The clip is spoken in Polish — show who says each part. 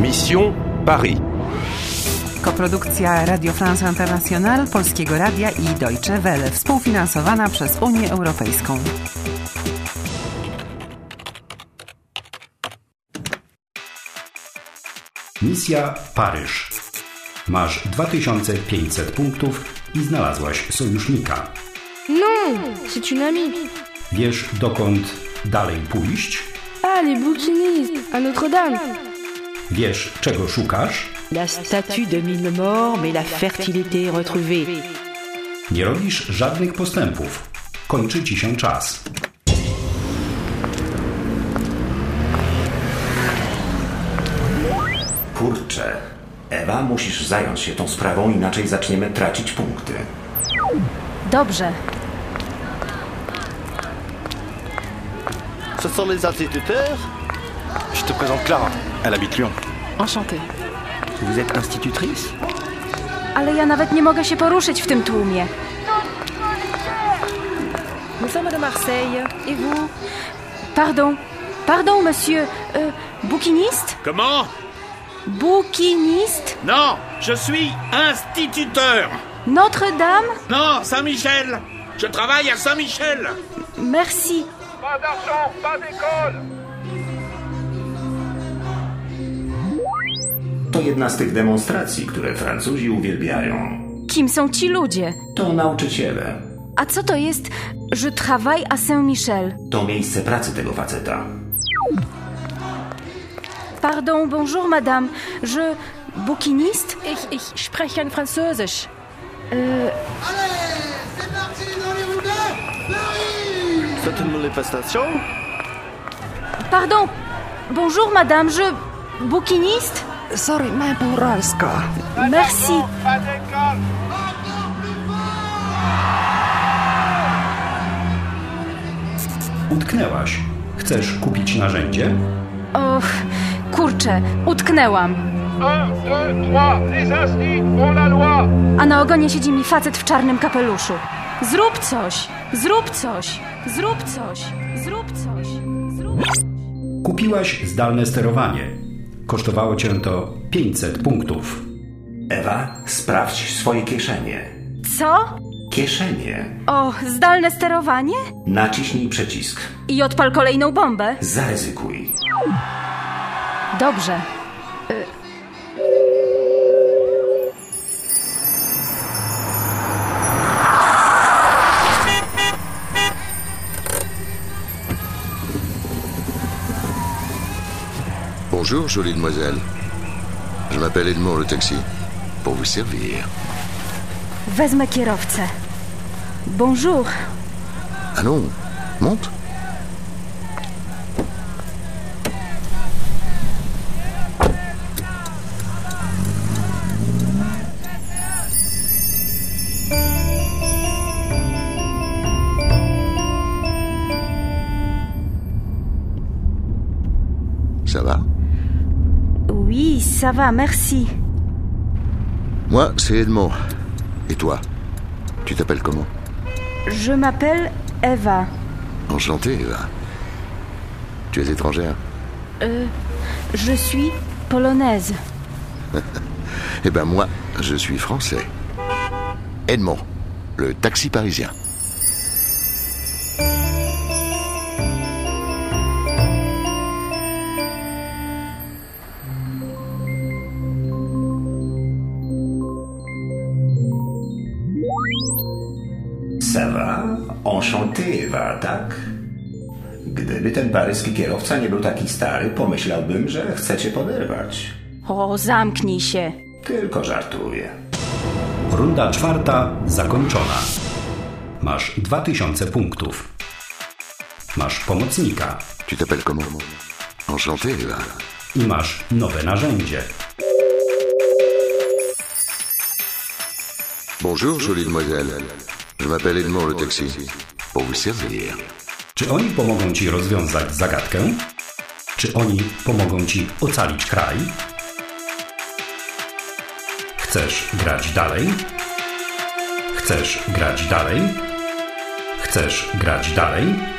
Speaker 1: Mission Paris.
Speaker 2: Koprodukcja Radio France International, Polskiego Radia i Deutsche Welle, współfinansowana przez Unię Europejską.
Speaker 3: Misja Paryż. Masz 2500 punktów i znalazłaś sojusznika.
Speaker 4: Non, c'est une amie.
Speaker 3: Wiesz, dokąd dalej pójść?
Speaker 4: Ah, les bouquinistes, à Notre-Dame.
Speaker 3: Wiesz, czego szukasz?
Speaker 5: La statue de mille morts, mais la fertilité retrouvée.
Speaker 3: Nie robisz żadnych postępów. Kończy ci się czas.
Speaker 6: Kurczę, Ewa, musisz zająć się tą sprawą, inaczej zaczniemy tracić punkty.
Speaker 7: Dobrze,
Speaker 8: Ce sont les instituteurs
Speaker 1: Je te présente Clara. Elle habite Lyon.
Speaker 9: Enchantée.
Speaker 8: Vous êtes institutrice
Speaker 7: ale ja nawet nie mogę się poruszyć w tym tłumie.
Speaker 10: Nous sommes de Marseille. Et vous
Speaker 7: Pardon, pardon, monsieur. Euh, bouquiniste
Speaker 11: Comment
Speaker 7: Bouquiniste
Speaker 11: Non, No, je suis instituteur.
Speaker 7: Notre-Dame
Speaker 11: Non, Saint-Michel. Je travaille à Saint-Michel.
Speaker 7: Merci.
Speaker 6: To jedna z tych demonstracji, które Francuzi uwielbiają.
Speaker 7: Kim są ci ludzie?
Speaker 6: To nauczyciele.
Speaker 7: A co to jest Je travaille à Saint-Michel?
Speaker 6: To miejsce pracy tego faceta.
Speaker 7: Pardon, bonjour, madame. Je. Bouquiniste
Speaker 10: Ich, ich spreche ein Französisch.
Speaker 8: C'est une manifestation
Speaker 7: Pardon, bonjour, madame. Je. Bouquiniste
Speaker 9: Sorry, ma buralska.
Speaker 7: Merci.
Speaker 3: Utknęłaś. Chcesz kupić narzędzie?
Speaker 7: Och, kurczę, utknęłam. A na ogonie siedzi mi facet w czarnym kapeluszu. Zrób coś! Zrób coś! Zrób coś! Zrób coś! Zrób coś!
Speaker 3: Kupiłaś zdalne sterowanie. Kosztowało cię to 500 punktów.
Speaker 6: Ewa, sprawdź swoje kieszenie.
Speaker 7: Co?
Speaker 6: Kieszenie.
Speaker 7: O, zdalne sterowanie?
Speaker 6: Naciśnij przycisk.
Speaker 7: I odpal kolejną bombę?
Speaker 6: Zaryzykuj.
Speaker 7: Dobrze.
Speaker 12: Bonjour, jolie demoiselle. Je m'appelle Edmond le taxi. Pour vous servir.
Speaker 7: Wezmę kierowcę. Bonjour.
Speaker 12: Ah non, monte. Ça va
Speaker 7: Oui, ça va, merci.
Speaker 12: Moi, c'est Edmond. Et toi Tu t'appelles comment
Speaker 7: Je m'appelle Eva.
Speaker 12: Enchanté, Eva. Tu es étrangère
Speaker 7: Je suis polonaise.
Speaker 12: Eh ben moi, je suis français. Edmond, le taxi parisien.
Speaker 6: Ça va? Enchanté, Ewa, tak? Gdyby ten paryski kierowca nie był taki stary, pomyślałbym, że chce cię poderwać.
Speaker 7: O, zamknij się.
Speaker 6: Tylko żartuję.
Speaker 3: Runda czwarta zakończona. Masz 2000 punktów. Masz pomocnika
Speaker 12: Tu t'appelles comment Enchanté, Eva.
Speaker 3: i masz nowe narzędzie.
Speaker 12: Bonjour, jolie demoiselle. Je m'appelle Edmond le taxi. Pour vous servir.
Speaker 3: Czy oni pomogą ci rozwiązać zagadkę? Czy oni pomogą ci ocalić kraj? Chcesz grać dalej? Chcesz grać dalej? Chcesz grać dalej?